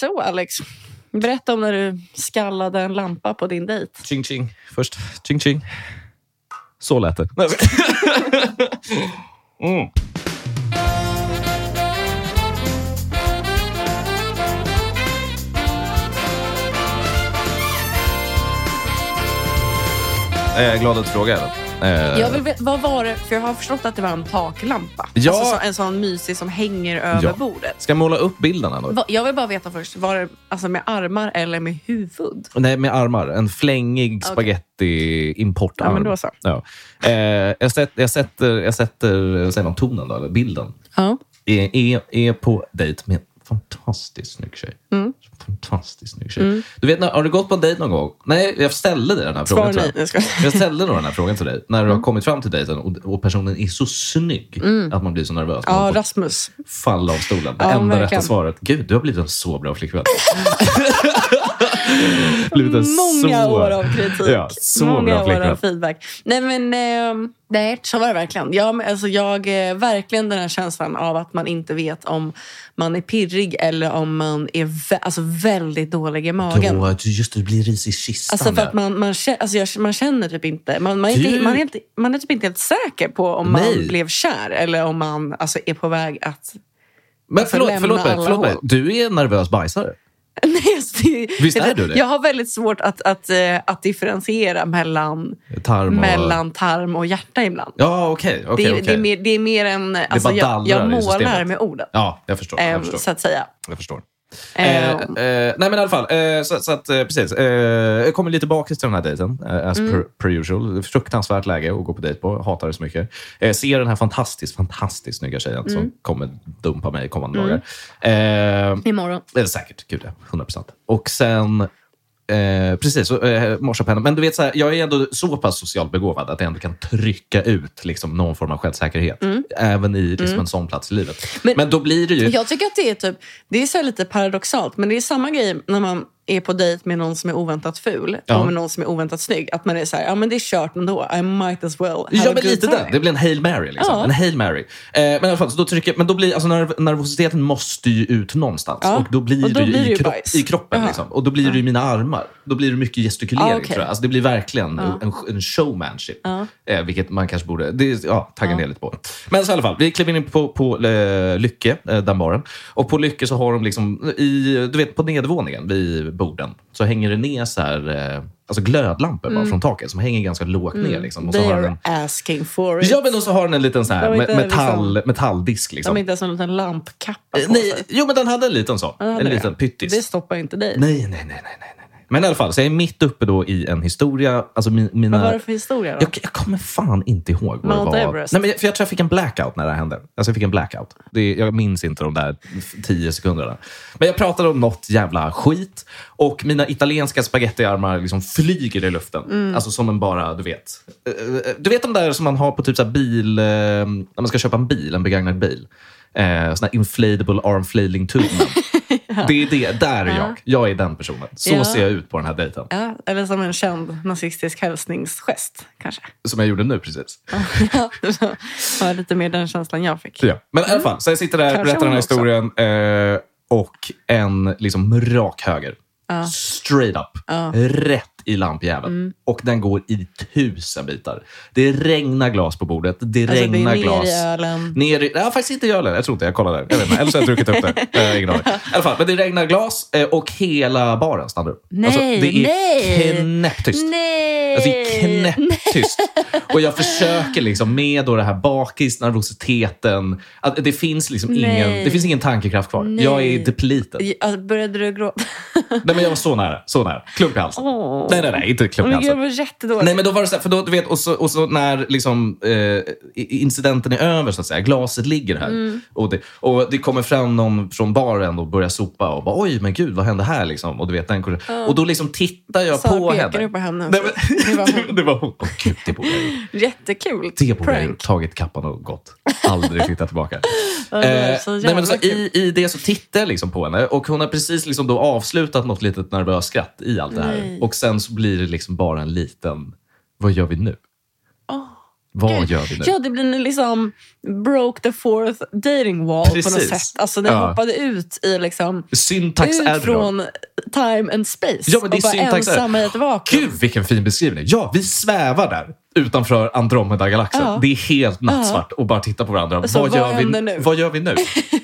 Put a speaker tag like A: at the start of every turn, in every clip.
A: så Alex, berätta om när du skallade en lampa på din dejt.
B: Ching ching först. Ching ching. Så lät det. Nej, men- mm. Är jag glad att fråga? eller? Eh,
A: Jag vill veta, vad var det? För jag har förstått att det var en taklampa.
B: Ja.
A: Alltså så, en sån mysig som hänger över
B: Ja.
A: bordet.
B: Ska jag måla upp bilden? Här då?
A: Va- Jag vill bara veta först, var det alltså med armar eller med huvud?
B: Nej, med armar. En flängig
A: Okej.
B: spagetti-importarm.
A: Ja, men då så.
B: Ja. Eh, jag, sätt, jag sätter, jag sätter säger man, tonen, då, eller bilden.
A: Ja.
B: Är, är, är på dejt med en fantastiskt snygg tjej.
A: Mm.
B: Fantastiskt snygg tjej. Du vet, när, har du gått på en dejt någon gång? Nej, jag ställde dig den här
A: Svar
B: frågan. tror
A: nej.
B: jag.
A: Jag skojar. Mm.
B: Jag ställde nog den här frågan till dig när du har kommit fram till dejten och, och personen är så snygg att man blir så nervös. Man
A: Ja,
B: får
A: Rasmus.
B: falla av stolen. Det
A: Ja,
B: enda rätta
A: verkligen.
B: svaret. Gud, du har blivit en så bra flickvän. blivit en
A: Många
B: så...
A: år av kritik.
B: Ja, så
A: Många
B: bra
A: år av
B: flickvän.
A: feedback. Nej, men ehm, nej, så var det verkligen. Ja, men alltså jag, eh, verkligen den här känslan av att man inte vet om man är pirrig eller om man är vä- alltså, väldigt dålig i magen.
B: Då, just det, du blir risig i kistan.
A: Alltså för att
B: där.
A: man, man, kä- alltså jag, man känner typ inte... Man, man, är inte
B: Du-
A: man, är inte, man är typ inte helt säker på om man
B: Nej.
A: blev kär eller om man alltså, är på väg att...
B: Men förlåt,
A: lämna
B: förlåt, mig,
A: alla
B: förlåt mig.
A: hål.
B: Du är en nervös bajsare.
A: Nej, alltså, det,
B: Visst är du det?
A: Jag har väldigt svårt att, att, eh, att differentiera mellan,
B: Tarm och...
A: mellan tarm och hjärta ibland.
B: Ja, okej. okej,
A: det, är-
B: okej.
A: det, är mer, det är mer en... Alltså,
B: bara
A: jag, jag
B: dallrar i
A: målar
B: systemet.
A: med orden,
B: Ja, jag förstår. Jag
A: eh,
B: förstår.
A: så att säga.
B: Jag förstår. Eh,
A: Eh,
B: eh, nej, men i alla fall. Eh, så, så att, eh, precis. Eh, jag kommer lite bakis till den här dejten, eh, as
A: Mm.
B: per, per usual. Fruktansvärt läge att gå på dejt på. Hatar det så mycket. Eh, ser den här fantastiskt, fantastiskt snygga tjejen
A: Mm.
B: som kommer dumpa mig kommande dagar. Eh,
A: imorgon.
B: eller säkert, gud ja. 100 procent. Och sen... Eh, precis, så, eh, morsa pennan. Men du vet, så här, jag är ändå så pass socialt begåvad att jag ändå kan trycka ut liksom, någon form av självsäkerhet. Även i liksom, en sån plats i livet. Men,
A: Men-
B: då blir det ju...
A: Jag tycker att det är typ, det är så här lite paradoxalt, men det är samma grej när man är på dejt med någon som är oväntat ful
B: Ja.
A: och med någon som är oväntat snygg. Att man är så här, ja men det är kört ändå. I might as well have
B: Ja,
A: a
B: men
A: good
B: lite
A: time."
B: den. Det blir en Hail Mary. Liksom.
A: Ja.
B: En Hail Mary. Eh, men i alla fall, så då trycker, men då blir, alltså, nerv- nervositeten måste ju ut någonstans.
A: Ja.
B: Och då blir
A: Och då
B: det ju
A: blir det
B: i,
A: ju
B: kropp,
A: bajs.
B: i kroppen.
A: Ja.
B: Liksom. Och då blir det ju i mina armar. Då blir det mycket gestikulering.
A: Ja, okej.
B: tror jag. Alltså, det blir verkligen en, en showmanship. Eh, vilket man kanske borde det, är- ja, tagga ner lite på. Men så i alla fall, vi kliver in på, på eh, Lycke, eh, den baren. Och på Lycke så har de liksom, i, du vet på nedervåningen vid borden, så hänger det ner så här, eh, alltså glödlampor
A: Mm.
B: bara från taket som hänger ganska lågt ner. Liksom. Och så
A: They
B: har den,
A: are asking for it.
B: Ja, men och så har den en liten så här,
A: De är
B: me-
A: inte
B: metall,
A: liksom-
B: metalldisk.
A: De
B: Liksom.
A: har inte ens en liten lampkappa på
B: Eh, Nej,
A: sig.
B: jo, men den hade en liten sån.
A: Ja, det-
B: en liten pyttis.
A: Det stoppar inte dig.
B: Nej, nej, nej, nej, nej, nej. nej. Men i alla fall, så jag är mitt uppe då i en historia. Alltså mi, mina...
A: Vad var det för historia då?
B: jag, jag kommer fan inte ihåg vad det
A: Mount
B: var.
A: Everest.
B: Nej, men jag, för jag tror jag fick en blackout när det här hände. Alltså jag fick en blackout. Det, jag minns inte de där tio sekunderna. Men jag pratade om något jävla skit och mina italienska spagettiarmar liksom flyger i luften.
A: Mm.
B: Alltså som en bara, du vet. Eh, Du vet de där som man har på typ så här bil, eh, när man ska köpa en bil, en begagnad bil. Eh, såna här inflatable arm flailing tube. Det är det. Där är jag. Jag är den personen. Så
A: Ja.
B: ser jag ut på den här dejten.
A: Ja, eller som en känd nazistisk hälsningsgest kanske.
B: Som jag gjorde nu precis.
A: Ja, det var lite mer den känslan jag fick.
B: Ja. Men i alla fall, så jag sitter där,
A: Mm. Kanske
B: berättar den här
A: hon också.
B: historien eh, och en liksom rak höger. Straight up. Rätt i lampjäveln.
A: Mm.
B: Och den går i tusen bitar. Det regnar glas på bordet. Det
A: Alltså, det är
B: regnar
A: ner i
B: glas.
A: ölen.
B: Ner i, ja, faktiskt inte i ölen. Jag tror inte. Jag kollar där. Jag vet inte. Eller så har jag druckit upp det. Jag har ingen aning. I alla fall, men det regnar glas eh, och hela baren stannar upp. Alltså,
A: Nej,
B: det är
A: nej.
B: knäpptyst.
A: Nej!
B: Alltså, det är knäpptyst. Och jag försöker liksom med då det här bakis, nervositeten. Att det, finns liksom ingen,
A: Nej.
B: det finns ingen tankekraft kvar.
A: Nej.
B: Jag är depleted.
A: Ja, Började du gråta?
B: Nej, men jag var så nära. Så nära. Klump i halsen.
A: Åh.
B: Nej, nej, nej. Inte klump i
A: Men gud, det
B: halsen.
A: var jättedåligt.
B: Nej, men då var det så här, för då, du vet, och så, och så när liksom, eh, i- incidenten är över, så att säga, glaset ligger här
A: Mm.
B: och, det, och det kommer fram någon från baren och börjar sopa och bara oj, men gud, vad hände här? Liksom, och, du vet, den, och då liksom tittar jag
A: Så
B: på
A: pekar
B: henne.
A: du på henne?
B: Nej, men,
A: Det var
B: det, det var hon. Åh, gud, det borde jag ha gjort.
A: Jättekul
B: Det borde jag ha
A: prank.
B: gjort. tagit kappan och gått. Aldrig tittat tillbaka.
A: det var
B: Eh,
A: så
B: nej, men
A: jävla
B: så
A: kul.
B: i, I det så tittar jag liksom på henne och hon har precis liksom då avslutat något litet nervöst skratt i allt det här.
A: Nej.
B: Och sen så blir det liksom bara en liten, vad gör vi nu?
A: Åh.
B: Vad
A: Gud.
B: gör vi nu?
A: Ja, det blir en liksom broke the fourth dating wall på något
B: Precis.
A: sätt. Alltså den
B: Ja.
A: hoppade ut i liksom
B: Syntax error.
A: ut från time and space
B: Ja, men
A: och
B: det är
A: bara
B: syntax error.
A: ensam i ett vakuum.
B: Gud, vilken fin beskrivning. Ja, vi svävar där utanför Andromeda-galaxen.
A: Ja.
B: Det är helt nattsvart och bara tittar på varandra.
A: Så vad
B: gör vi,
A: händer nu?
B: vad gör vi nu?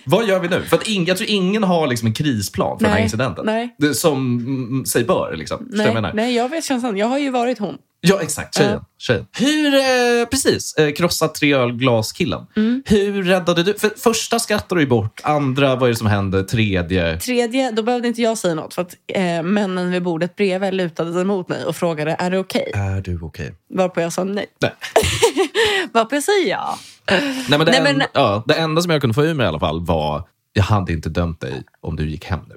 B: vad gör vi nu? För att ing, jag tror ingen har liksom en krisplan för den här
A: Nej,
B: incidenten.
A: nej.
B: Det, som mm, sig bör. Liksom. Förstår vad
A: Nej,
B: jag menar?
A: nej, jag vet känslan. Jag har ju varit hon.
B: Ja, exakt. Tjejen.
A: Ja.
B: tjejen. Hur, eh, precis, eh, krossa tre ölglas-killen.
A: Mm.
B: Hur räddade du... För första skrattar du ju bort, andra vad är det som händer, tredje...
A: Tredje, då behövde inte jag säga något för att eh, männen vid bordet bredvid lutade sig mot mig och frågade är det okej?
B: Är du okej?
A: Varpå jag sa nej.
B: Nej.
A: Varpå jag säger ja.
B: Nej, men det,
A: Nej, men-
B: en, Ja, det enda som jag kunde få ur mig i alla fall var jag hade inte dömt dig om du gick hem nu.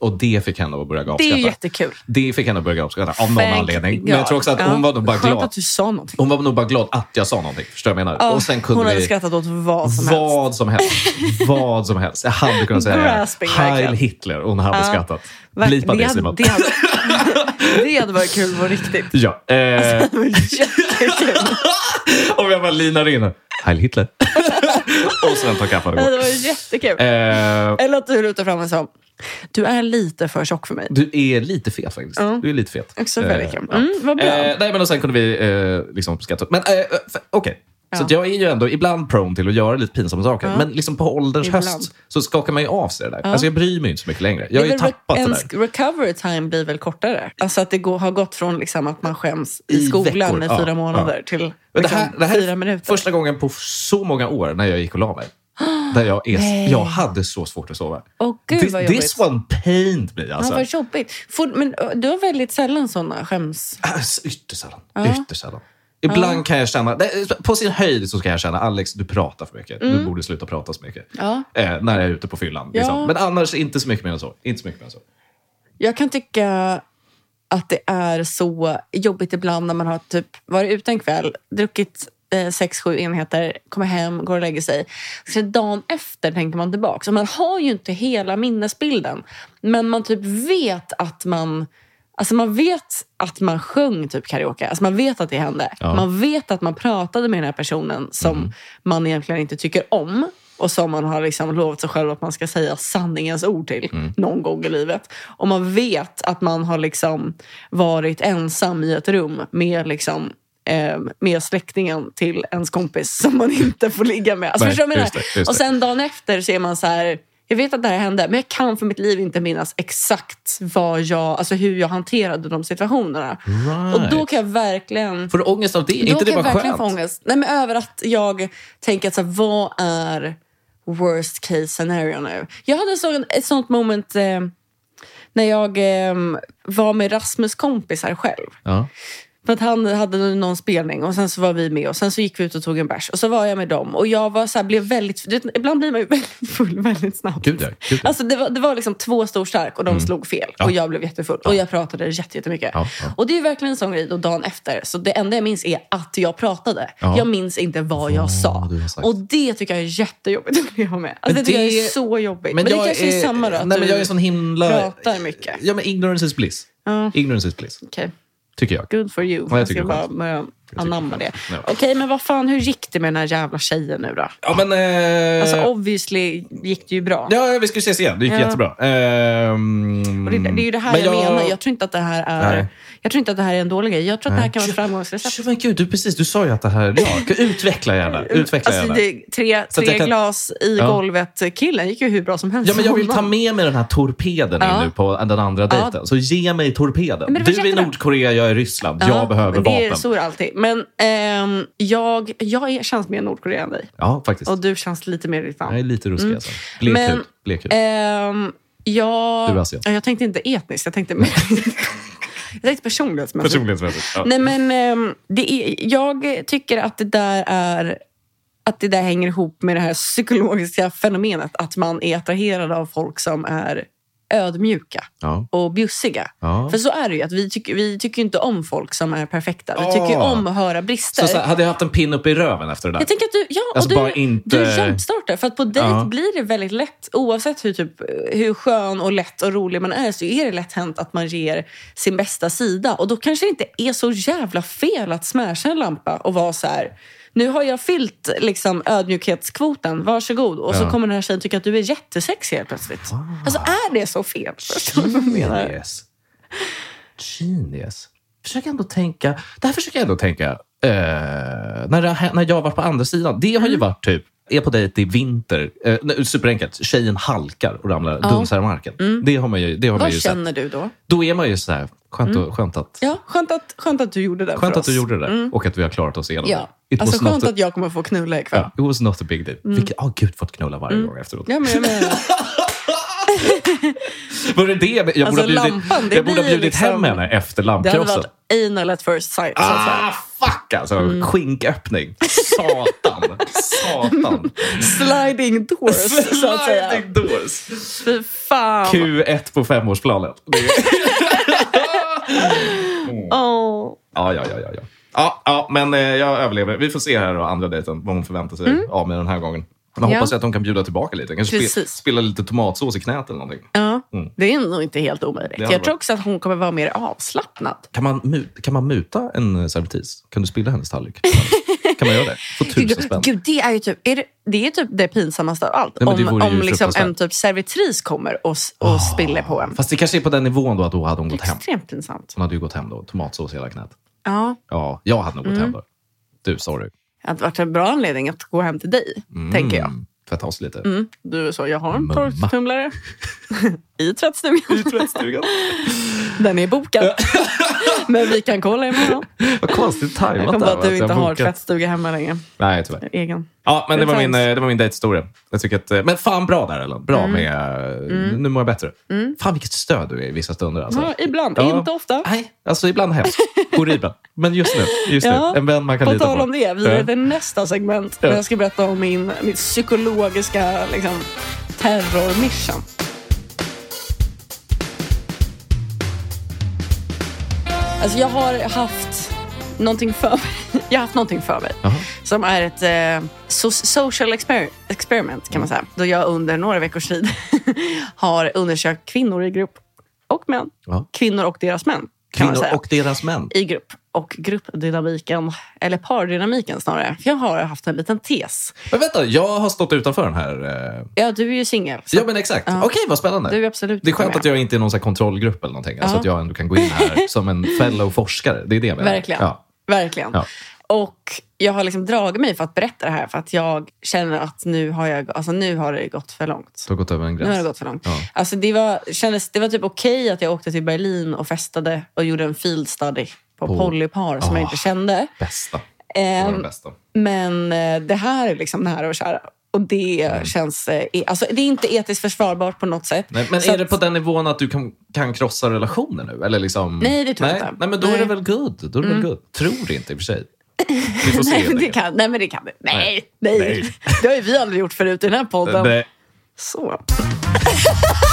B: Och det fick henne att börja
A: Det är ju
B: gapskratta.
A: jättekul.
B: Det fick henne att börja gapskratta av någon
A: Thank
B: anledning.
A: God.
B: Men jag tror också att
A: Ja.
B: hon var nog bara
A: Skönt
B: glad.
A: att du sa någonting.
B: Hon var nog bara glad att jag sa någonting. Förstår du vad jag menar? och sen kunde
A: hon hade
B: vi...
A: skrattat åt vad som helst.
B: Vad som helst. Vad som helst. Jag hade kunnat säga
A: Grasping,
B: Heil
A: verkligen.
B: Hitler och hon hade skrattat.
A: Verk-
B: Blipa det, Simon.
A: hade, det, hade, det hade varit kul på riktigt.
B: Ja. Eh,
A: Det var jättekul.
B: om jag bara linar in. Heil Hitler. och sen tar kaffan och
A: Det
B: går.
A: var jättekul.
B: Eh,
A: Eller att du lutar fram en sån. Du är lite för tjock för mig.
B: Du är lite fet faktiskt.
A: Ja.
B: Du är lite fet.
A: Också väldigt
B: Eh,
A: kul.
B: ja.
A: Mm, vad bra.
B: Eh, nej, men och sen kunde vi eh, liksom skratta. Men eh, eh, f- okej. Så att jag är ju ändå ibland prone till att göra lite pinsamma saker. Men liksom på ålderns
A: Ibland.
B: höst så skakar man ju av sig det där. Alltså jag bryr mig inte så mycket längre. Jag har ju
A: Det är väl
B: tappat det där.
A: ens recovery time blir väl kortare? Alltså att det går, har gått från liksom att man skäms i,
B: I
A: skolan
B: veckor,
A: i
B: ja,
A: fyra
B: ja.
A: månader till
B: Men
A: liksom,
B: det här, det här
A: fyra
B: är
A: minuter.
B: första gången på så många år när jag gick och la mig. Där jag, är, jag hade så svårt att sova.
A: Åh, gud,
B: Thi-
A: vad
B: this one pained me.
A: Ja,
B: Alltså.
A: vad jobbigt. Får- Men ö, du har väldigt sällan såna skäms...
B: Alltså, Ytterst sällan. Ytterst sällan. Ibland kan jag känna, nej, på sin höjd så kan jag känna Alex, du pratar för mycket. Du borde sluta prata så mycket.
A: Mm. Ja.
B: Eh, när jag är ute på fyllan.
A: Ja.
B: Liksom. Men annars inte så mycket mer än så. Inte så mycket mer än så.
A: Jag kan tycka att det är så jobbigt ibland när man har typ varit ute en kväll, druckit eh, sex, sju enheter, kommer hem, går och lägger sig. Så dagen efter tänker man tillbaka. Så man har ju inte hela minnesbilden. Men man typ vet att man... Alltså man vet att man sjöng typ karaoke. Alltså man vet att det hände.
B: Ja.
A: Man vet att man pratade med den här personen som man egentligen inte tycker om och som man har liksom lovat sig själv att man ska säga sanningens ord till
B: Mm.
A: någon gång i livet. Och man vet att man har liksom varit ensam i ett rum med, liksom, eh, med släktingen till ens kompis som man inte får ligga med. Alltså,
B: Nej,
A: förstår du vad jag
B: just
A: menar?
B: det, just
A: och
B: det.
A: sen dagen efter så är man så här... Jag vet att det här hände, men jag kan för mitt liv inte minnas exakt vad jag, alltså hur jag hanterade de situationerna.
B: Right.
A: Och då kan jag verkligen
B: Får du ångest av det?
A: då
B: inte det
A: kan jag
B: bara
A: verkligen
B: skönt?
A: få ångest. Nej, men över att jag tänker att så här, vad är worst case scenario nu? Jag hade så, ett sånt moment eh, när jag eh, var med Rasmus kompisar själv.
B: Ja.
A: För att han hade någon spelning och sen så var vi med och sen så gick vi ut och tog en bärs och så var jag med dem och jag var så här, blev väldigt, du vet, ibland blir man ju väldigt full väldigt snabbt.
B: Gud, ja. Gud, ja. Mm.
A: Alltså det var, det var liksom två stor stark och de slog fel och jag blev jättefull och jag pratade jätte- jättemycket.
B: Ja, ja.
A: Och det är ju verkligen en sån grej då dagen efter så det enda jag minns är att jag pratade.
B: Ja.
A: Jag minns inte vad jag sa.
B: du har sagt.
A: Och det tycker jag är jättejobbigt att leva med. Alltså
B: Men
A: det, tycker jag är
B: det-
A: så jobbigt. Men, det kanske är, samma då? att
B: Nej, men
A: du-
B: jag är sån himla...
A: pratar mycket.
B: Ja, men ignorance is bliss. Ignorance is bliss,
A: Okej.
B: tycker jag.
A: Good for you. Alltså,
B: jag
A: Jag
B: tycker
A: ska
B: det är
A: bara
B: skönt.
A: börja anamma
B: det är
A: det.
B: skönt. Ja.
A: Okej, men vad fan, hur gick det med den här jävla tjejen nu då?
B: Ja, men, eh,
A: Alltså obviously gick det ju bra.
B: ja, vi ska ju ses igen. Det gick
A: Ja.
B: jättebra. Ehm,
A: Och Det, det är ju det här
B: men
A: jag, menar. Jag tror, inte att det här är,
B: Nej.
A: jag tror inte att det här är en dålig grej. Jag tror att det här kan vara ett framgångsrecept.
B: Tjo, men gud, du, precis, du sa ju att det här... Ja, utveckla gärna. Utveckla
A: Alltså,
B: gärna.
A: det, är tre
B: Så
A: tre
B: att jag kan-
A: glas i
B: Ja.
A: golvet-killen gick ju hur bra som helst.
B: Ja, men jag vill ta
A: Honom.
B: med mig den här torpeden
A: Ja.
B: in nu på den andra
A: Ja.
B: dejten. Så ge mig torpeden.
A: Men det var
B: du är i
A: jättebra.
B: Nordkorea, jag är i Ryssland.
A: Ja,
B: jag behöver
A: men Det är
B: vapen.
A: så är det alltid. Men ehm, jag, jag är, känns mer Nordkorea än dig.
B: Ja, faktiskt.
A: Och du känns lite mer Vietnam.
B: Jag är lite ruskig alltså. Blek
A: Men-
B: hud. Blek hud.
A: Ehm, jag,
B: Du är asiat.
A: Ja, jag tänkte inte etniskt, jag tänkte, jag tänkte personlighetsmässigt.
B: Personlighetsmässigt. Ja.
A: Nej, men, ehm, det är, jag tycker att det där är att det där hänger ihop med det här psykologiska fenomenet att man är attraherad av folk som är ödmjuka
B: Ja.
A: och bjussiga.
B: Ja.
A: För så är det ju. att Vi tycker, vi tycker inte om folk som är perfekta. Vi
B: Ah.
A: tycker ju om att höra brister.
B: Så, så här, hade jag haft en pin upp i röven efter det där?
A: Jag tänker att du, ja, och
B: Alltså,
A: du,
B: bara inte-
A: du jumpstartar. För att på dejt
B: Ja.
A: blir det väldigt lätt, oavsett hur, typ, hur skön och lätt och rolig man är, så är det lätt hänt att man ger sin bästa sida. Och då kanske det inte är så jävla fel att smasha en lampa och vara så här, nu har jag fyllt liksom, ödmjukhetskvoten, varsågod. Och så
B: Ja.
A: kommer den här tjejen tycka att du är jättesexig helt plötsligt. Alltså är det så fel? Förstår du vad jag menar?
B: Genius. Genius. Försök ändå tänka. Det här försöker jag ändå tänka. eh, när, det, har hänt- när jag var på andra sidan. Det har
A: Mm.
B: ju varit typ, är på dejt i vinter. eh, nej, superenkelt. Tjejen halkar och ramlar, dunsar i marken. Det har man ju, det har
A: Mm.
B: man
A: Vad
B: ju sett.
A: känner du då?
B: Då är man ju så här, skönt, och, skönt att
A: Ja, skönt att, skönt att du gjorde det
B: Skönt
A: för
B: att du
A: oss. Mm.
B: gjorde det och att vi har klarat oss igenom
A: Ja.
B: det. It
A: Alltså
B: was
A: skönt
B: not a,
A: att jag kommer få knulla ikväll.
B: ja, it was not a big deal. Vilket, oh, gud, fått knulla varje gång efteråt.
A: Mm. Ja, men jag menar det.
B: Var det det? Jag borde
A: Alltså,
B: ha bjudit,
A: lampan, det
B: jag borde ha
A: blir
B: bjudit
A: liksom-
B: hem henne efter
A: Det hade
B: lampkrossen.
A: varit anal at first sight. Så att säga. Mm.
B: Ah, fuck alltså! Skinköppning. Satan. Satan.
A: Sliding doors, så att säga.
B: Sliding doors.
A: Fy fan.
B: Q1 på femårsplanen. Det är-
A: Åh.
B: Ja, ja, ja. ja, ja. Ja, ja, men eh, jag överlever. Vi får se här och andra dejten vad hon förväntar sig av mig den här gången. Men
A: Mm. Ja.
B: hoppas jag att hon kan bjuda tillbaka lite. Kanske spe,
A: Precis.
B: spela lite tomatsås i knät eller någonting.
A: Ja,
B: Mm.
A: det är nog inte helt omöjligt.
B: hade
A: Jag tror
B: varit-
A: också att hon kommer vara mer avslappnad.
B: Kan man, mu- kan man muta en eh, servitris? Kan du spilla hennes tallrik? kan man göra det? Få tusen spänn.
A: Gud, det är ju typ, är det, det, är typ det pinsammaste av allt.
B: Nej, men det
A: om
B: vore ju
A: om liksom en
B: fruktansvärt. Ah,
A: typ servitris kommer och, s- och spiller på en.
B: Fast det kanske är på den nivån då att då hade hon gått hem.
A: Extremt pinsamt.
B: Hon hade ju gått hem då. Tomatsås i hela knät.
A: Ja,
B: Ja, jag hade nog gått
A: Mm.
B: hem då. Du, sorry.
A: det hade varit en bra anledning att gå hem till dig, tänker jag.
B: Mm, Tvätta oss lite.
A: Mm. Du är så, jag har en
B: Mumma.
A: torktumlare i tvättstugan.
B: Tvättstugan.
A: Den är bokad. Men vi kan kolla imorgon.
B: Vad konstigt
A: Jag
B: tajmat
A: kom på
B: det här
A: att du
B: var,
A: inte
B: jag
A: har
B: bokat-
A: tvättstuga hemma längre.
B: Nej, tyvärr.
A: Egen.
B: Ja, men det var
A: Good
B: min,
A: times.
B: eh, det var min dejthistoria. Jag tycker att, eh, men fan bra där, Ellen. Bra
A: Mm.
B: med... eh, Nu mår jag bättre. Fan vilket stöd du är i vissa stunder. Alltså.
A: Ja, ibland,
B: Ja.
A: inte ofta.
B: Nej, alltså ibland hemskt. Horribelt. Men just nu, just
A: Ja,
B: nu. En vän man kan
A: På
B: lita på.
A: tal om det, vidare
B: Ja.
A: till nästa segment.
B: Ja.
A: Där jag ska berätta om min, mitt psykologiska liksom, terrormission. Alltså jag har haft någonting för mig. Jag har haft någonting för mig.
B: Jaha.
A: Som är ett eh, so- social exper- experiment kan man säga. Då jag under några veckors tid har undersökt kvinnor i grupp och män.
B: Ja.
A: Kvinnor och deras män. Kan man
B: Kvinnor
A: säga
B: och deras män.
A: i grupp och gruppdynamiken, eller pardynamiken snarare. För jag har haft en liten tes.
B: Men vänta, jag har stått utanför den här. eh,
A: Ja, du är ju singel. så
B: Ja, men exakt. Okej, vad spännande.
A: Du är absolut
B: det är
A: inte
B: skönt
A: med.
B: att jag inte är någon så här kontrollgrupp eller någonting. Alltså
A: Ja.
B: att jag ändå kan gå in här som en fellow forskare. Det är det jag menar.
A: Verkligen.
B: Ja.
A: Verkligen.
B: Ja.
A: Och jag har liksom dragit mig för att berätta det här för att jag känner att nu har, jag, alltså nu har det gått för långt.
B: Du har gått över en
A: Nu har det
B: gräns.
A: gått för långt.
B: Ja.
A: Alltså det, var, kändes, det var typ okej att jag åkte till Berlin och festade och gjorde en field study på,
B: På-
A: polypar som jag
B: Ah.
A: inte kände.
B: Bästa. Det var
A: Ehm,
B: det bästa.
A: Men eh, det här är liksom nära och kära. Och det
B: Mm.
A: känns... eh, e- Alltså, det är inte etiskt försvarbart på något sätt.
B: Nej, men
A: Så
B: är det
A: att-
B: på den nivån att du kan, kan krossa relationer nu? Eller liksom...
A: Nej, det tror jag
B: nej.
A: inte.
B: Nej, men då är
A: Nej. Mm.
B: det väl good. Då är det väl good. Tror inte i och för sig. Vi får se.
A: Nej, men
B: helt
A: det
B: enkelt.
A: kan, nej, men det kan det. Nej, nej.
B: Nej.
A: Det har ju vi aldrig gjort förut i den här podden.
B: Nej,
A: Så.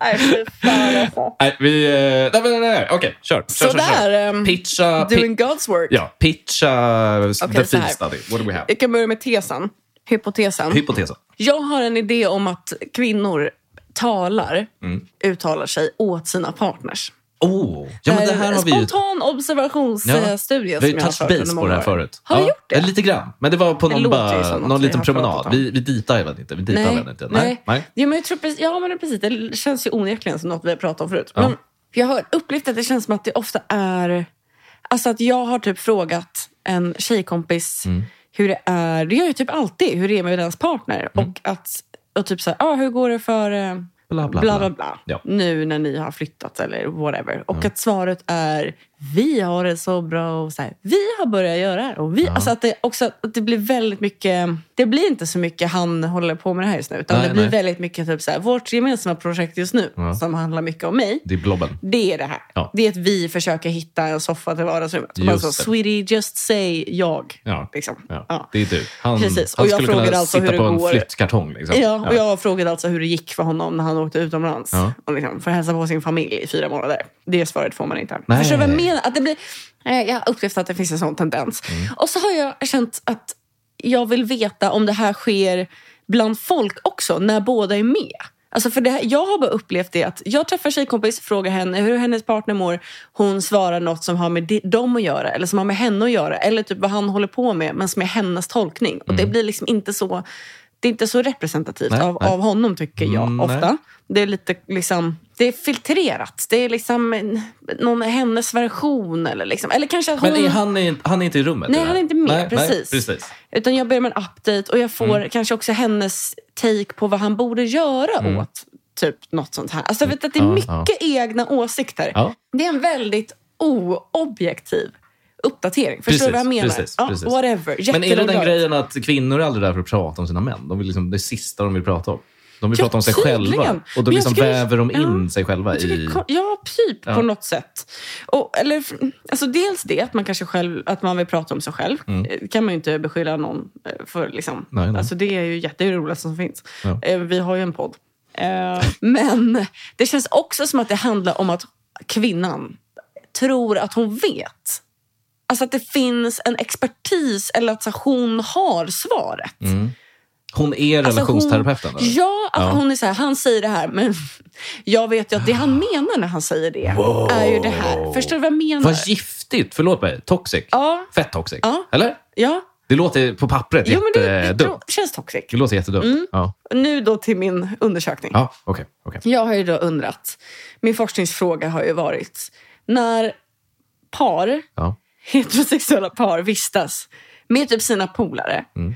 A: nej, fy fan alltså.
B: nej, vi... eh, Nej, nej, nej. nej. Okej, kör. kör, kör,
A: Sådär,
B: kör.
A: ehm,
B: Pitcha...
A: Doing God's work.
B: Ja, pitcha the
A: Okej, så
B: field
A: här. Eh,
B: study. What do we have?
A: Jag kan börja med tesen. Hypotesen.
B: Hypotesen.
A: Jag har en idé om att kvinnor talar,
B: Mm.
A: uttalar sig åt sina partners.
B: Oh, ja, men det här
A: är en
B: har vi ju...
A: Eh, Spontan observationsstudie
B: vi har ju
A: som jag
B: touched
A: har kört
B: base
A: under
B: på det
A: många
B: här
A: år.
B: förut.
A: Har
B: ja, Eh,
A: vi gjort det?
B: Lite grann. Men det var på någon,
A: låter ju
B: bara,
A: som något
B: någon
A: vi
B: liten
A: har pratat
B: promenad.
A: om.
B: Vi, vi ditade väl inte? Vi ditade väl inte?
A: nej.
B: nej.
A: Ja, men jag tror precis, ja, men precis. Det känns ju onekligen som något vi har pratat om förut.
B: Ja.
A: Men jag har upplevt att det känns som att det ofta är... Alltså att jag har typ frågat en tjejkompis
B: Mm.
A: hur det är. Det gör jag typ alltid. Hur det är med deras partner. Och att... Och typ så här, ah, hur går det för... eh,
B: Mm. Bla, bla,
A: bla,
B: bla.
A: bla, bla.
B: Ja.
A: Nu när ni har flyttat eller whatever. Och att svaret är vi har det så bra och så här, vi har börjat göra det här. Och vi, alltså att det, också, att det blir väldigt mycket, det blir inte så mycket han håller på med det här just nu. Utan
B: Nej,
A: det blir
B: nej.
A: väldigt mycket typ så här, vårt gemensamma projekt just nu
B: Ja.
A: som handlar mycket om mig.
B: Det är blobben.
A: Det är det här.
B: Ja.
A: Det är att vi försöker hitta en soffa till vardagsrummet. Och bara
B: Just
A: så,
B: det.
A: sweetie, just say jag.
B: Ja.
A: Liksom.
B: Ja,
A: Ja.
B: Det är du. Han,
A: Precis, och
B: han
A: jag
B: skulle kunna
A: frågar alltså
B: sitta
A: hur
B: på
A: det
B: en
A: går.
B: flyttkartong. Liksom.
A: Ja, och jag frågade alltså hur det gick för honom när han åkte utomlands
B: Ja.
A: och liksom för att hälsa på sin familj i fyra månader. Det svaret får man inte.
B: Nej.
A: Förstår du vad jag menar? Att det blir, Nej, jag har upplevt att det finns en sån tendens.
B: Mm.
A: Och så har jag känt att jag vill veta om det här sker bland folk också, när båda är med. Alltså för det, här- jag har bara upplevt det att jag träffar en tjejkompis, frågar henne hur hennes partner mår. Hon svarar något som har med di- dem att göra eller som har med henne att göra. Eller typ vad han håller på med men som är hennes tolkning. Och det blir liksom inte så... Det är inte så representativt
B: Mm. Nej,
A: av,
B: nej.
A: av honom tycker jag
B: Mm, nej.
A: ofta. Det är lite liksom... Det är filtrerat. Det är liksom en- någon hennes version. Eller, liksom. eller kanske att hon...
B: Men är han, är, han är inte i rummet?
A: Nej,
B: i det här?
A: han är inte med, precis.
B: Nej, precis.
A: Utan jag ber om en update och jag får
B: Mm.
A: kanske också hennes take på vad han borde göra åt typ något sånt här. Alltså jag vet att det är
B: Mm. Ja, ja.
A: mycket egna åsikter.
B: Ja.
A: Det är en väldigt oobjektiv uppdatering. Förstår
B: Precis,
A: du vad jag menar?
B: precis,
A: ja,
B: precis.
A: Whatever.
B: Men är det den
A: Jätteroligt.
B: grejen att kvinnor är aldrig där för att prata om sina män? De vill liksom, det sista de vill prata om. De vill
A: Ja,
B: prata om sig
A: tydligen.
B: själva. Och
A: Men
B: då
A: jag
B: liksom
A: skulle-
B: väver de in
A: Ja.
B: sig själva
A: Jag tycker
B: i...
A: ko- Ja, typ
B: Ja.
A: på något sätt. Och, eller, f- alltså dels det, att man kanske själv, att man vill prata om sig själv. Eh, kan man ju inte beskylla någon eh, för. Liksom.
B: Mm. Nej, nej.
A: Alltså, det är ju jätte- det är det roligaste som finns.
B: Ja.
A: Eh, Vi har ju en podd. Eh, Men det känns också som att det handlar om att kvinnan tror att hon vet. Alltså att det finns en expertis eller att så här, hon har svaret.
B: Hon är
A: Alltså,
B: relationsterapeuten?
A: hon,
B: eller?
A: Ja, att
B: Ja.
A: hon är så här, han säger det här men jag vet ju att det han menar när han säger det är ju det här. Förstår du vad jag menar?
B: Vad giftigt! Förlåt mig. Toxic.
A: Ja.
B: Fett toxic.
A: Ja.
B: Eller?
A: ja.
B: Det låter på pappret
A: Jo, men det, Mm. det,
B: jättedumt.
A: det känns toxic.
B: Det låter jättedumt. Ja,
A: Nu då till min undersökning.
B: ja okej. okej.
A: Jag har ju då undrat, min forskningsfråga har ju varit när par,
B: Ja.
A: heterosexuella par vistas med typ sina polare
B: Mm.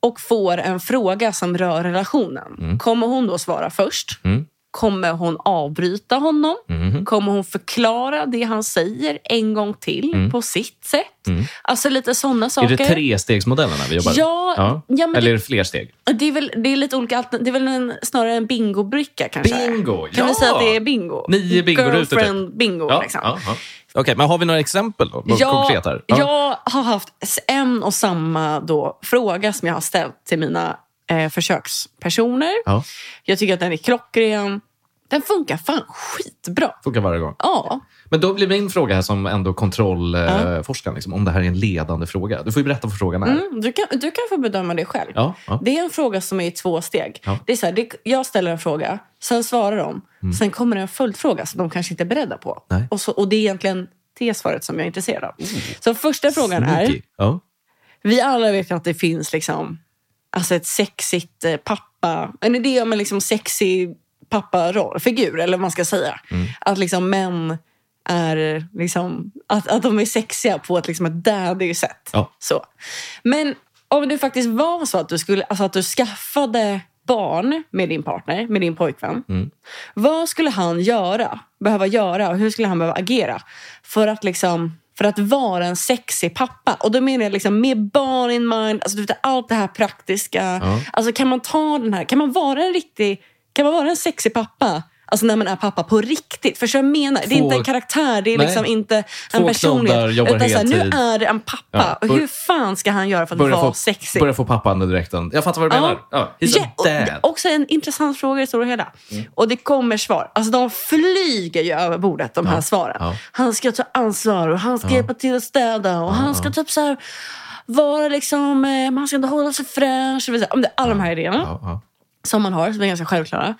A: och får en fråga som rör relationen. Kommer hon då svara först?
B: Mm.
A: Kommer hon avbryta honom?
B: Mhm.
A: Kommer hon förklara det han säger en gång till på sitt sätt? Alltså lite sådana
B: Mm. Är
A: saker.
B: det trestegsmodellerna vi jobbar med?
A: Ja, ja, men
B: Eller
A: det-
B: är det fler steg?
A: Det är väl det är lite olika alternativ. Det är väl en, snarare en bingobricka kanske.
B: Bingo,
A: Kan vi
B: ja!
A: säga att det är bingo?
B: Nio bingorutor, typ.
A: Girlfriend bingo liksom.
B: Okej, men har vi några exempel då? Något konkret här? Ja.
A: Jag har haft en och samma då fråga som jag har ställt till mina eh, försökspersoner.
B: Ja.
A: Jag tycker att den är klockren. Den funkar fan skitbra.
B: Funkar varje gång.
A: Ja.
B: Men då blir min fråga här som ändå kontrollforskaren, liksom, om det här är en ledande fråga. Du får ju berätta vad frågan är.
A: Mm, Du kan, du kan få bedöma det själv.
B: Ja, ja.
A: Det är en fråga som är i två steg.
B: Ja. Mm.
A: Det är så här, det, jag ställer en fråga, sen svarar de. Sen kommer det en följdfråga som de kanske inte är beredda på.
B: Nej. Mm.
A: Och, så, och det är egentligen det svaret som jag är intresserad av. Så första frågan är,
B: Sneaky. Ja.
A: vi alla vet ju att det finns liksom, alltså ett sexigt eh, pappa, en idé om en liksom sexig pappa-figur, eller vad man ska säga. Att liksom män är liksom, att, att de är sexiga på ett, liksom ett daddy-sätt.
B: Ja.
A: Så. Men om det faktiskt var så att du, skulle, alltså att du skaffade barn med din partner, med din pojkvän.
B: Mm.
A: Vad skulle han göra, behöva göra och hur skulle han behöva agera för att, liksom, för att vara en sexig pappa? Och då menar jag liksom, med barn in mind, alltså, du vet, allt det här praktiska.
B: Ja.
A: Alltså, kan man ta den här, kan man vara en riktig, kan man vara en sexig pappa? Alltså när man är pappa på riktigt. För så jag menar, det är
B: Två-
A: inte en karaktär, det är
B: Nej.
A: liksom inte en
B: Två knoddar,
A: personlighet.
B: jobbar
A: Utan så här, nu
B: heltid.
A: är det en pappa.
B: Ja,
A: och
B: bör-
A: hur fan ska han göra för att
B: Börja,
A: vara
B: få,
A: sexig?
B: börja få pappan under dräkten. Jag fattar vad du menar. Ja, he's
A: Ja, och-
B: a dad. Mm.
A: också en intressant fråga i det stora hela. Och det kommer svar. Alltså de flyger ju över bordet, de här svaren.
B: ja.
A: Han ska ta ansvar och han ska hjälpa till att städa och han ska typ så här vara liksom, eh, han ska inte hålla sig fräsch. och så här. Om det är Alla de här idéerna
B: Ja, ja.
A: som man har, som är ganska självklara.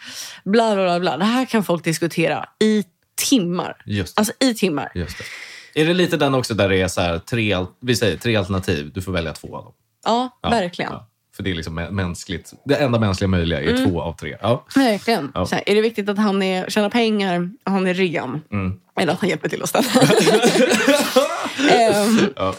A: Bla, bla, bla, bla. Det här kan folk diskutera i timmar.
B: Just det.
A: Alltså i timmar.
B: Just det. Är det lite den också där det är så här, tre, al- vi säger, tre alternativ, du får välja två av dem?
A: Ja,
B: Ja,
A: verkligen. Mm.
B: ja. För det är liksom mä- mänskligt. Det enda mänskliga möjliga är två av tre. Ja.
A: Verkligen.
B: Ja.
A: Så här, är det viktigt att han är, tjänar pengar, att han är ren?
B: Mm.
A: Eller att han hjälper till att ställa? Ehm,
B: Ja.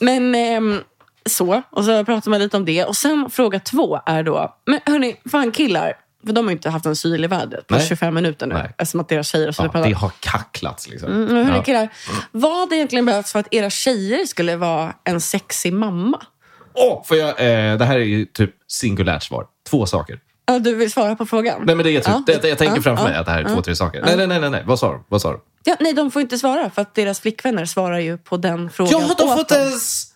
A: Men ehm, så, och så pratar man lite om det. Och sen fråga två är då, men hörni, fan killar, för de har ju inte haft en syl i vädret på
B: Nej.
A: 25 minuter nu.
B: Nej.
A: Eftersom att deras tjejer har
B: Ja,
A: slutat
B: det
A: prata.
B: har kacklats liksom.
A: Men hörni
B: Ja.
A: killar, vad hade egentligen behövts för att era tjejer skulle vara en sexig mamma?
B: Åh, får jag, eh, det här är ju typ singulärt svar. Två saker.
A: Ja, Du vill svara på frågan?
B: Nej, men det är typ,
A: Ja.
B: det, jag tänker
A: Ja,
B: framför
A: ja,
B: mig att det här är två, tre saker. Nej, nej, nej, nej, nej. Vad sa de? Vad sa de?
A: Ja, nej, de får inte svara för att deras flickvänner svarar ju på den frågan
B: Ja, de
A: åt
B: får inte
A: dem.
B: ens...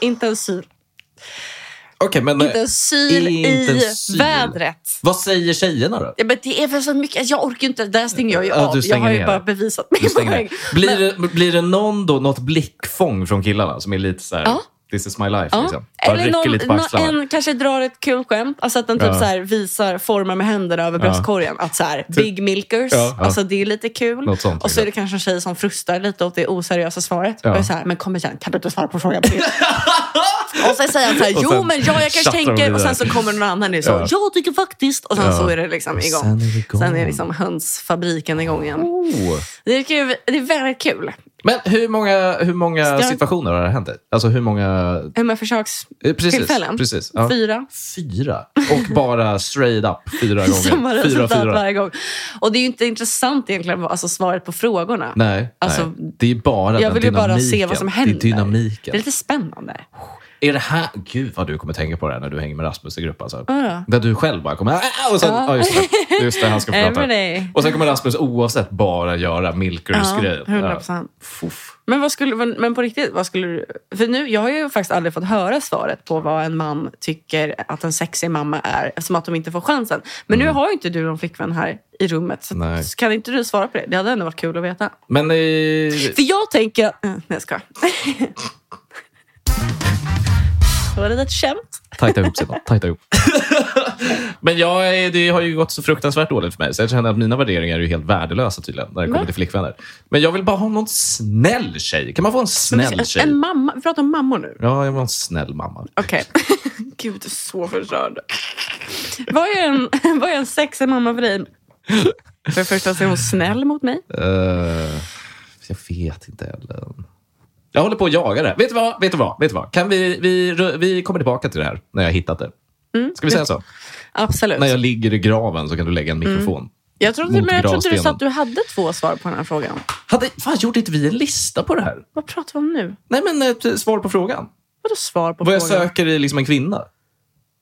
A: Inte en syl.
B: Okej, men...
A: Inte en syl
B: Inte en
A: i
B: syl.
A: vädret.
B: Vad säger tjejerna då?
A: Ja, men det är för så mycket. Jag orkar ju inte. Där stänger jag ju
B: Ja,
A: av.
B: du
A: Jag
B: stänger
A: har ju
B: ner.
A: bara bevisat min
B: Stäng ner.
A: poäng.
B: Blir, det, blir det någon då, något blickfång från killarna som är lite så här...
A: Ja,
B: This is my life.
A: Ja.
B: Liksom. Bara
A: Eller
B: rycker lite på
A: någon,
B: axlarna.
A: någon, en kanske drar ett kul skämt. Alltså att den typ
B: Ja. Typ.
A: så här visar, formar med händerna över bröstkorgen. Att så här, big milkers,
B: Ja.
A: alltså det är lite kul.
B: Något sånt,
A: och så är det
B: exakt.
A: kanske en tjej som frustar lite åt det oseriösa svaret.
B: Ja.
A: Och är så här, men kom igen, kan du inte svara på frågan på det? och sen säger han så här,
B: Och
A: jo
B: sen
A: men ja, jag kanske
B: chattar de
A: tänker. Och
B: vidare.
A: sen så kommer någon annan och så,
B: Ja.
A: jag tycker faktiskt. Och sen
B: Ja.
A: så är det liksom
B: Och
A: igång.
B: sen är det igång.
A: Sen är liksom hönsfabriken igång igen.
B: Oh.
A: Det är, kul, det är väldigt kul.
B: Men hur många, hur många
A: Ska-
B: situationer har det hänt dig? Alltså hur många...
A: Hur många försöks...
B: eh, Precis.
A: Tillfällen?
B: Precis. Ja.
A: Fyra.
B: Fyra. Och bara straight up fyra
A: Samma
B: gånger. Fyra,
A: resultat
B: fyra.
A: varje gång. Och det är ju inte intressant egentligen, vad- alltså svaret på frågorna.
B: Nej,
A: Alltså,
B: nej, det är bara
A: Jag
B: den
A: vill ju bara se vad som händer.
B: Det är dynamiken.
A: Det är lite spännande.
B: Är det här... Gud vad du kommer tänka på det här när du hänger med Rasmus i grupp. Alltså.
A: Ja.
B: Där du själv bara kommer... "Ah", Och sen,
A: Ja.
B: ja. just, det, just det, han ska få prata.
A: Emily.
B: Och sen kommer Rasmus oavsett bara göra Milkers-grejen.
A: Ja, 100%.
B: Fuff.
A: Men, vad skulle, men- men på riktigt, vad skulle du... För nu, jag har ju faktiskt aldrig fått höra svaret på vad en man tycker att en sexig mamma är eftersom att de inte får chansen. Men nu har ju inte du någon flickvän här i rummet. Så
B: Mm. Nej.
A: kan inte du svara på det? Det hade ändå varit kul att veta.
B: Men... Eh,
A: För jag tänker... att- Mm, Nej, jag skojar. Det var det ett skämt.
B: Tajta ihop sidan. Tajta ihop. Men jag, är- det har ju gått så fruktansvärt dåligt för mig, så jag känner att mina värderingar är ju helt värdelösa tydligen, när det kommer
A: Va?
B: till flickvänner. Men jag vill bara ha någon snäll tjej. Kan man få en snäll
A: En
B: tjej?
A: mamma. Vi pratar om mammor nu.
B: Ja, jag vill ha en snäll mamma.
A: Okej. Gud, du är så förstörd. Vad är en, vad är en sexig mamma för dig? För det första så är hon snäll mot mig.
B: Eh, jag vet inte heller. Jag håller på att jaga det. Vet du vad? Vet du vad? Vet du vad? Kan vi, vi, rö- vi kommer tillbaka till det här när jag har hittat det.
A: Mm.
B: Ska vi säga så?
A: Absolut.
B: När jag ligger i graven så kan du lägga en mikrofon.
A: jag trodde,
B: mot
A: men jag trodde du sa
B: gravstenen.
A: att du hade två svar på den här frågan.
B: Hade, fan, gjorde inte vi en lista på det här?
A: Vad pratar vi om nu?
B: Nej, men ett svar på frågan.
A: Vadå svar på
B: Vad jag
A: frågan?
B: söker är liksom en kvinna.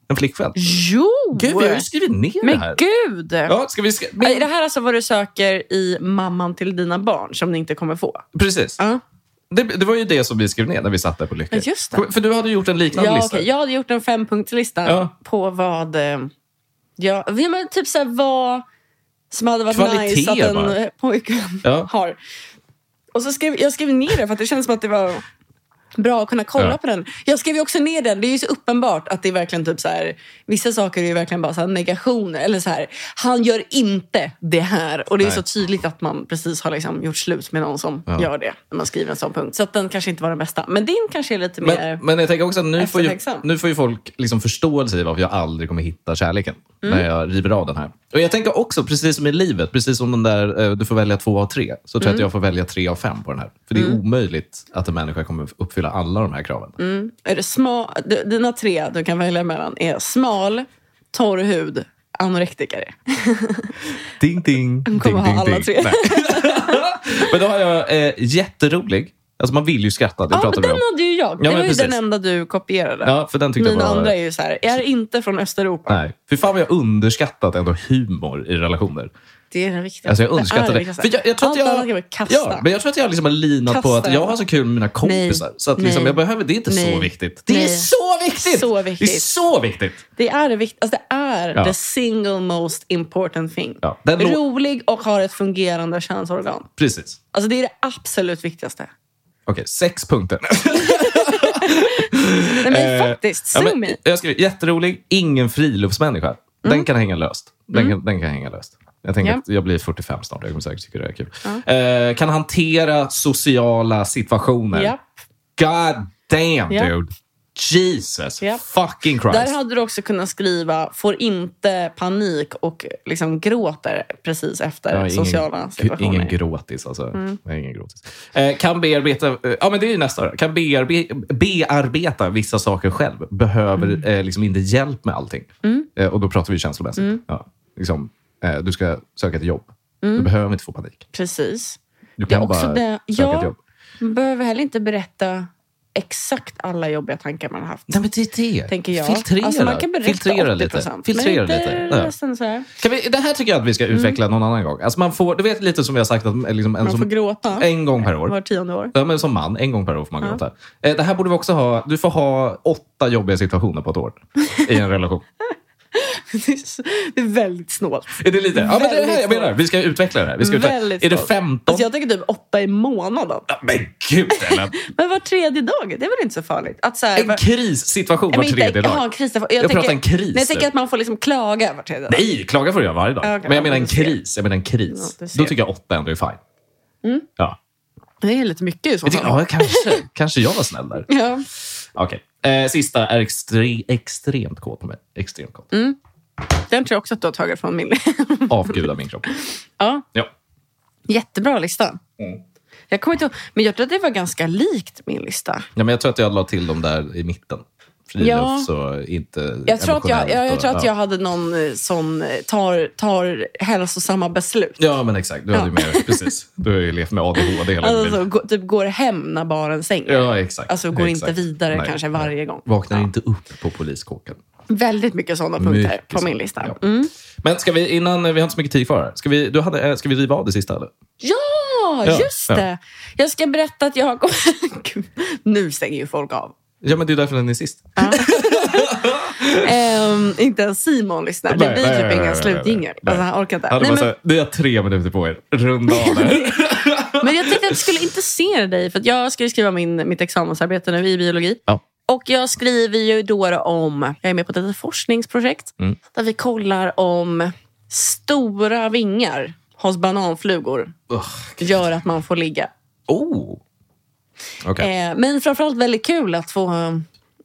B: En flickvän.
A: Jo!
B: Gud, vi har ju skrivit ner det
A: men
B: här.
A: gud!
B: Ja, ska vi sk- men,
A: Är det här alltså vad du söker i mamman till dina barn som ni inte kommer få?
B: Precis.
A: Ja.
B: Det, det var ju det som vi skrev ner när vi satt där på Lycka.
A: Ja, just det.
B: För du hade gjort en liknande
A: Ja,
B: lista.
A: okej. Jag hade gjort en fempunktslista
B: Ja.
A: på vad... eh, Ja, ja, men typ så här, vad som hade varit
B: Kvaliteter
A: nice att en
B: bara.
A: eh, pojkvän
B: Ja.
A: har. Och så skrev, jag skrev ner det för att det känns som att det var bra att kunna kolla
B: Ja.
A: på den. Jag skrev ju också ner den. Det är ju så uppenbart att det är verkligen typ så här... Vissa saker är ju verkligen bara så här negationer. Eller så här, han gör inte det här. Och det är
B: Nej.
A: så tydligt att man precis har liksom gjort slut med någon som
B: Ja.
A: gör det. När man skriver en sån punkt. Så att den kanske inte var den bästa. Men din kanske är lite mer...
B: Men, men jag tänker också att nu får ju,
A: Eftertänksam.
B: nu får ju folk liksom förståelse i varför jag aldrig kommer hitta kärleken
A: Mm.
B: när jag river av den här. Och Jag tänker också, precis som i livet, precis som den där eh, du får välja två av tre, så
A: Mm.
B: tror jag att jag får välja tre av fem på den här. För det är omöjligt att en människa kommer uppfylla alla de här kraven.
A: Är det sma, d- dina tre du kan välja mellan är smal, torr hud, anorektiker.
B: Ding, ding. Hon
A: kommer
B: ding,
A: ha alla
B: ding, ding.
A: tre.
B: Nej. Men då har jag eh, jätterolig. Alltså man vill ju skratta, det
A: Ja,
B: pratar
A: men den
B: vi om.
A: hade ju jag.
B: Ja,
A: det
B: men
A: var ju
B: precis.
A: den enda du kopierade.
B: Ja, för den tyckte
A: Mina
B: jag var...
A: andra är ju så här, jag är inte från Östeuropa.
B: Nej. Fy fan vad jag underskattat ändå humor i relationer.
A: Det är den viktiga.
B: Alltså jag
A: Det är
B: underskattar
A: den
B: det.
A: viktigaste.
B: För jag, jag tror att
A: Allt annat kan
B: jag,
A: vara kasta.
B: ja, men jag tror att jag liksom har linat på
A: Kasta.
B: att jag har så kul med mina kompisar.
A: Nej.
B: Så att liksom
A: Nej.
B: jag behöver, det är inte
A: Nej.
B: så viktigt. Det är
A: Nej.
B: så viktigt!
A: Så
B: Det är
A: viktigt.
B: så viktigt!
A: Det är det vikt, alltså det är
B: Ja.
A: the single most important thing.
B: Ja, den lå-
A: Rolig och har ett fungerande könsorgan.
B: Precis.
A: Alltså det är det absolut viktigaste.
B: Okej, sex punkter.
A: Nej men faktiskt,
B: Eh, Ja,
A: sue
B: men,
A: me.
B: jag skriver jätterolig, ingen friluftsmänniska. Den kan hänga löst. Den, kan, den kan hänga löst. Jag tänker
A: Mm. Ja.
B: att jag blir 45 snart. Jag kommer säkert tycka det är kul. Eh, kan hantera sociala situationer.
A: Japp.
B: God damn,
A: Ja.
B: dude. Jesus
A: Ja.
B: fucking Christ.
A: Där hade du också kunnat skriva “får inte panik” och liksom gråter precis efter
B: Ja,
A: eh, sociala situationer. Mm.
B: Ingen gråtis alltså. Nej, ingen gråtis. Eh, kan bearbeta, eh, ja men det är ju nästa då. Kan bearbe, bearbeta vissa saker själv. Behöver
A: Mm.
B: eh, liksom inte hjälp med allting. Eh, och då pratar vi känslomässigt.
A: Mm.
B: Ja, liksom, eh, du ska söka ett jobb. Du behöver inte få panik.
A: precis.
B: Du
A: Mm. Det är
B: kan
A: också
B: bara
A: det.
B: söka ett
A: Jag
B: jobb.
A: behöver heller inte berätta exakt alla jobbiga tankar man har haft.
B: Nej, men det är det.
A: Tänker jag.
B: Filtrera,
A: Alltså man kan berätta
B: filtrera
A: 80
B: lite. Filtrera
A: men inte
B: lite. Ja.
A: resten så här.
B: Kan vi, det här tycker jag att vi ska utveckla någon annan gång. Alltså man får, du vet lite som vi har sagt, att eh, liksom en,
A: Mm. Man får
B: som,
A: gråta
B: en gång per år.
A: var tionde år.
B: Ja, men som man, en gång per år får man gråta. Eh, Det här borde vi också ha. Du får ha åtta jobbiga situationer på ett år i en relation.
A: Det är så- det är väldigt snålt.
B: Är det lite? Ja, men det är det här jag
A: Väldigt
B: menar. Vi ska utveckla det här. Vi ska utveckla.
A: Väldigt
B: Är det
A: snålt.
B: 15?
A: Alltså jag tänker typ åtta i månaden.
B: Men gud, Ellen.
A: Men var tredje dag, det är väl inte så farligt? Att så här,
B: En
A: var-
B: krissituation
A: Nej,
B: var
A: men inte-
B: tredje
A: jaha, en
B: dag.
A: kris, jag
B: Jag
A: tänker-
B: pratar en kris
A: Nej, jag
B: nu.
A: tänker att man får liksom klaga var tredje dag.
B: Nej, klaga får du göra varje dag.
A: Ja, okej.
B: men jag menar
A: Ja,
B: en
A: du ser.
B: kris. Jag menar en kris.
A: Ja, du ser. Mm.
B: Då tycker jag åtta ändå är fine. Ja.
A: Det är lite mycket i så
B: Jag tycker,
A: fall.
B: ja, kanske, kanske jag var snäll där.
A: Ja.
B: Okej. Eh, sista är extre, extremt kåt på mig. Extremt kåt.
A: Mm. Den tror jag också att du har tagit från min.
B: Avgudar min kropp.
A: ja,
B: Ja.
A: jättebra lista.
B: Mm.
A: Jag kommer inte ihåg, men jag tror att det var ganska likt min lista.
B: ja men jag tror att jag la till dem där i mitten.
A: Ja.
B: Frilufts och inte
A: Jag tror, att jag, jag, jag
B: emotionellt
A: tror
B: och-
A: att jag hade någon eh, sån eh, tar, tar hälsosamma beslut.
B: Ja, men exakt. Du hade ju mer, precis. Du har ju levt med ADHD hela ditt liv.
A: Alltså, gå, typ går hem när baren stänger.
B: Ja, exakt.
A: Alltså går
B: exakt.
A: inte vidare
B: Nej.
A: kanske varje gång.
B: Vaknar
A: Ja.
B: inte upp på poliskåken.
A: Väldigt mycket sådana punkter
B: Mycket
A: på min
B: så.
A: lista.
B: Ja.
A: Mm.
B: Men ska vi, innan, vi har inte så mycket tid kvar här. Ska vi, du hade, eh, ska vi riva av det sista eller?
A: Ja,
B: Ja,
A: just
B: ja.
A: det! Jag ska berätta att jag har kommit... Gud, nu stänger ju folk av.
B: Ja, men det är därför den är sist.
A: Ehm, inte ens Simon lyssnar.
B: Nej,
A: Det blir
B: nej,
A: typ
B: nej, nej,
A: ingen
B: nej,
A: slutjingel.
B: nej.
A: Alltså, han orkar inte.
B: Hade
A: Nej,
B: bara
A: men,
B: så här, Ni har tre minuter på er. Runda av det här.
A: men jag tänkte att det skulle intressera dig. För att jag ska ju skriva min, mitt examensarbete nu i biologi.
B: Ja.
A: Och jag skriver ju då om... Jag är med på ett litet forskningsprojekt.
B: Mm.
A: Där vi kollar om stora vingar hos bananflugor
B: Ugh.
A: gör att man får ligga.
B: Oh! Okej.
A: Eh, men framförallt väldigt kul att få,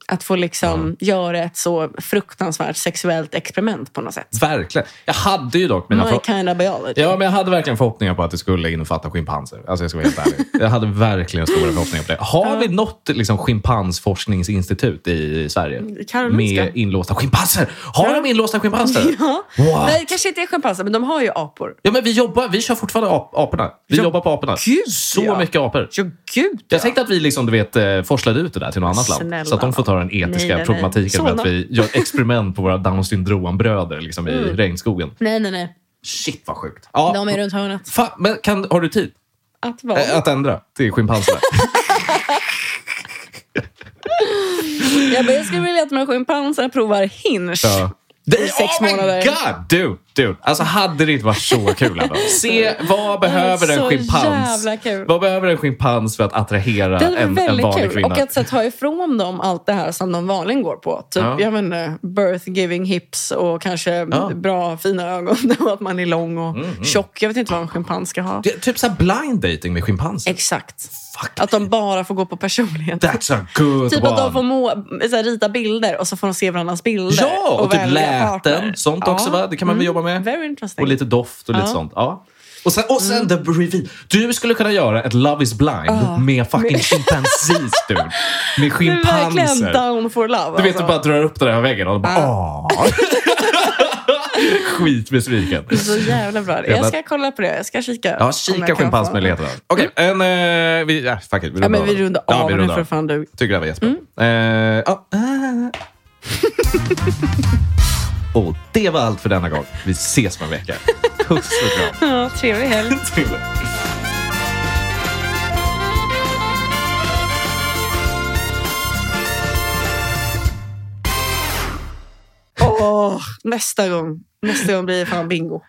A: att få liksom
B: Mm.
A: göra ett så fruktansvärt sexuellt experiment på något sätt.
B: Verkligen. Jag hade ju dock mina
A: My
B: förhoppningar.
A: kind of biology.
B: Ja, men jag hade verkligen förhoppningar på att det skulle innefatta schimpanser. Alltså, jag ska vara helt ärlig. Jag hade verkligen stora förhoppningar på det. Har vi något liksom, schimpansforskningsinstitut i Sverige?
A: Karolinska.
B: Med inlåsta schimpanser? Har
A: Ja.
B: de inlåsta schimpanser?
A: Ja.
B: Wow.
A: Nej, det kanske inte är schimpanser, men de har ju apor.
B: Ja, men vi, jobbar, vi kör fortfarande ap aporna. Vi
A: Ja,
B: jobbar på aporna.
A: gud,
B: Så
A: ja.
B: mycket apor.
A: Ja, gud
B: Jag tänkte att vi liksom, du vet, eh, forslade ut det där till något annat
A: Snälla
B: land. Så att de får ta
A: nån.
B: den
A: Nej,
B: etiska
A: nej, nej.
B: problematiken med
A: Såna.
B: att vi gör experiment på våra Downs syndrom-bröder liksom, i regnskogen.
A: Nej, nej, nej.
B: Shit vad sjukt. Ja.
A: Mm. De är runt hörnet.
B: Fan, men kan, har du tid
A: Att vara.
B: eh, att ändra till schimpanserna?
A: Jag, bara, jag skulle vilja att de här schimpanserna provar hinge.
B: Ja. Det,
A: sex
B: oh my
A: månader.
B: god! Dude, dude. Alltså hade det inte varit så kul ändå? Se, vad behöver en
A: så
B: schimpans?
A: jävla kul.
B: Vad behöver en schimpans för att attrahera
A: Det hade
B: en,
A: varit
B: en
A: väldigt
B: vanlig
A: kul.
B: kvinna?
A: Och att så, ta ifrån dem allt det här som de vanligen går på. Typ,
B: Ja.
A: jag vet inte, birth giving hips och kanske
B: Ja. Mm,
A: bra fina ögon och att man är lång och tjock. Jag vet inte vad en schimpans ska ha.
B: Det är typ så här blind dating med schimpanser.
A: Exakt.
B: Fuck,
A: Att de bara får gå på personlighet.
B: that's a good
A: Typ
B: one.
A: att de får må, så här, rita bilder och så får de se varandras bilder.
B: ja, och, typ
A: välja
B: läten.
A: partner.
B: Sånt
A: Ja. Mm.
B: också va? Det kan man väl jobba med?
A: Very interesting.
B: Och lite doft och lite
A: Ja. Mm.
B: sånt. Ja. Och sen, och sen the reveal. Du skulle kunna göra ett Love is blind med fucking chimpanzees, dude. Med
A: Det är verkligen
B: schimpanser.
A: down for love.
B: Du vet,
A: alltså.
B: du bara drar upp den här väggen och de bara åh. Skitbesviken.
A: Så jävla bra. Jag ska kolla på det. Jag ska kika.
B: Ja,
A: om jag
B: kika
A: kan få-
B: schimpansmöjligheterna. Okej, en... Eh, vi, äh, fuck it, vi
A: Ja,
B: rundar
A: men vi
B: den.
A: rundar
B: Ja,
A: av
B: vi
A: nu
B: rundar
A: för
B: av.
A: fan Mm. du.
B: Tycker det var jättebra. Eh, ja. Och det var allt för denna gång. Vi ses om en vecka. Puss och kram.
A: Ja, trevlig helg.
B: Trevligt.
A: Åh, nästa gång. Nästa gång blir det fan bingo.